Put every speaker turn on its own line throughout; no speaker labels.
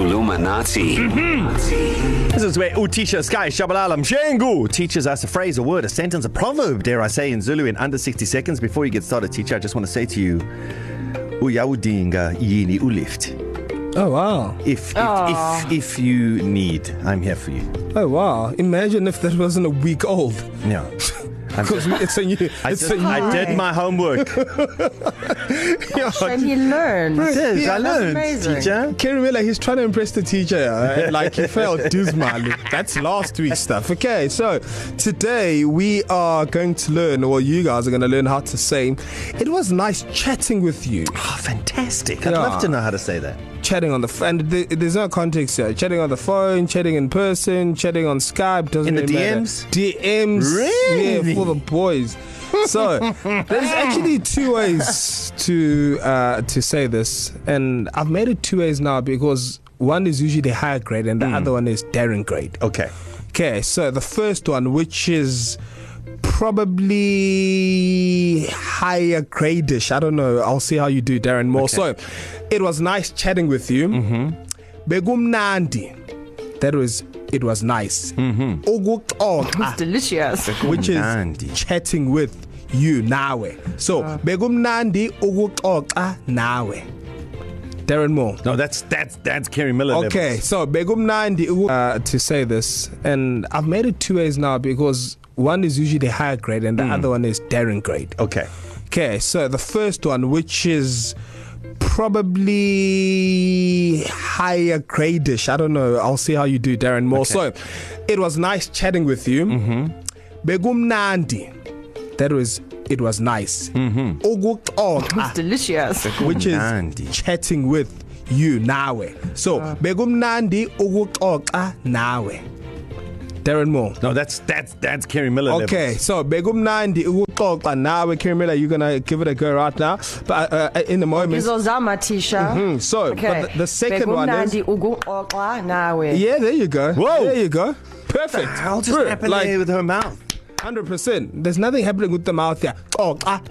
Illuminati.
This is where Utisha Sky Shabalalam Shengu teaches us a phrase, a word, a sentence, a proverb, dare I say, in Zulu in under 60 seconds. Before you get started, teacher, I just want to say to you, Uyawudinga yini ulift.
Oh wow!
If, if, if, if you need, I'm here for you.
Oh wow! Imagine if that wasn't a week old.
Yeah. I'm
Because
just,
it's a new.
I,
It's
just,
a new.
I did my homework.
And he learned.
Yes,
Yeah,
I
that's
learned,
amazing.
teacher.
Kerry Miller, he's trying to impress the teacher. eh? Like he failed dismally. That's last week's stuff. Okay, so today we are going to learn, or you guys are going to learn how to say, it was nice chatting with you.
Oh, fantastic. I'd
Yeah.
love to know how to say that.
Chatting on the phone. And th- there's no context here. Chatting on the phone, chatting in person, chatting on Skype. Doesn't
In the
really
DMs?
Matter. DMs.
Really?
Yeah, for the boys. So there's actually two ways to uh, to say this, and I've made it two ways now because one is usually the higher grade, and the
Hmm.
other one is daring grade.
Okay.
Okay, so the first one, which is probably higher gradish. I don't know. I'll see how you do, Darren Moore. Okay. So, it was nice chatting with you. Begumnandi. Mm-hmm. That was it. Was nice. Mm-hmm.
It's delicious.
which is
Nandi.
chatting with you nawe. So begumnandi ukuxoxa nawe. Darren Moore.
No, that's that's that's Kerry Miller.
Okay,
Levels.
so begumnandi uku- uh, to say this, and I've made it two ways now because one is usually the higher grade and the mm. other one is daring grade.
Okay.
Okay, so the first one, which is probably higher gradish. I don't know. I'll see how you do, Darren Moore. Okay. So, it was nice chatting with you. Mm-hmm. Begumnandi. That was it. Was nice. Mm-hmm.
It's delicious.
Mm-hmm.
which is
Nandi.
chatting with you nawe. So uh. begumnandi ukuxoxa nawe. Darren Moore.
No, that's that's that's Kerry Miller.
Okay,
Levels.
so begumnandi ukuxoxa nawe, Kimela, you're gonna give it a go right now. But uh, uh, in a moment.
Izozama Tisha.
Mm,
Mm-hmm.
so, okay. but the, the second one is.
Begumnandi ukuxoxa nawe.
Yeah, there you go.
Whoa.
There you go. Perfect.
I'll just
Bro,
happen
like
there with her mouth.
100%. There's nothing happening with the mouth here. Oh, ah.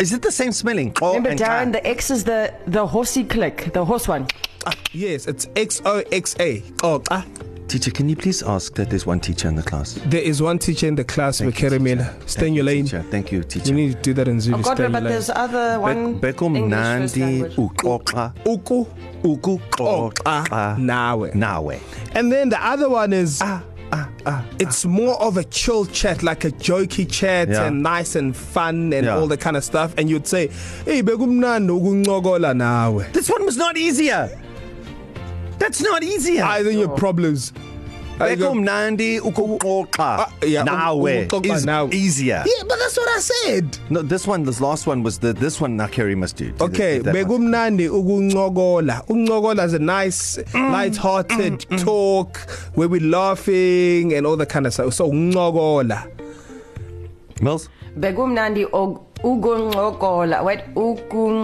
Is it the same smelling? Oh,
Remember,
and
Darren,
ah.
the X is the the horsey click, the horse one.
Ah, Yes, it's X O X A. Oh, ah.
Teacher, can you please ask that there's one teacher in the class?
There is one teacher in the class, Vekerimela. Stay in your lane.
Teacher, thank you, teacher.
You need to do that in Zulu.
Oh God,
Stay in
but
your
there's
lane.
other one.
Bekum
English first
nandi
language.
ukoka
Uku
uku
Oh, oka
koka
nawe.
nawe.
ah, And then the other one is
Ah, ah, ah.
it's more of a chill chat, like a jokey chat
Yeah.
and nice and fun and
Yeah.
all that kind of stuff. And you'd say, hey, begumnandi ukuncokola nawe.
This one was not easier. That's not easier.
Ah,
Either your problems. I go,
Bekum nandi uku koka
yeah,
nawe
ukukoka
is
nawe.
easier.
Yeah, but that's what I said.
No, this one, this last one was the this one Nakeri must do.
Okay,
That one.
begumnandi ukuncokola. Ukuncokola is a nice, mm, light-hearted mm, talk where we're laughing and all that kind of stuff. So ukuncokola.
Mills.
Begumnandi og- ukuncokola. Wait,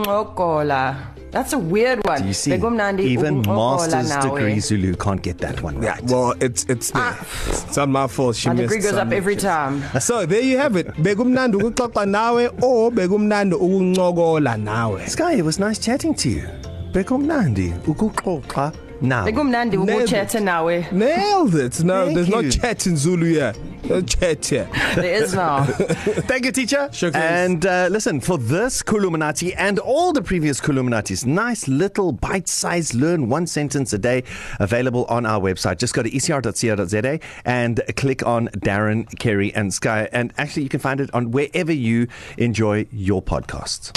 ukuncokola. That's a weird one.
Do you see?
Begumnandi
Even
ukuncokola
master's
nawe.
degree Zulu can't get that one
Yeah,
right.
well, it's it's there.
Ah.
It's not my fault. She
My
missed
degree goes up
some.
every time.
So there you have it. Begumnandi ukuxoxa nawe or begumnandi ukuncokola nawe.
Sky, it was nice chatting to you. Bekum nandi ukukoka now.
Begumnandi
Nailed
ukucheta
it.
nawe.
Nailed it. No,
Thank
there's no
you.
chat in Zulu here. No chat here.
There is now.
Thank you, teacher.
Sure thing.
and uh, listen, for this Kuluminati and all the previous Kuluminatis, nice little bite sized learn one sentence a day available on our website. Just go to E ecr.co.za and click on Darren, Kerry, and Sky. And actually, you can find it on wherever you enjoy your podcasts.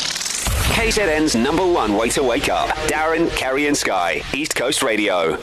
KZN's number one way to wake up. Darren, Kerry, and Sky. East Coast Radio.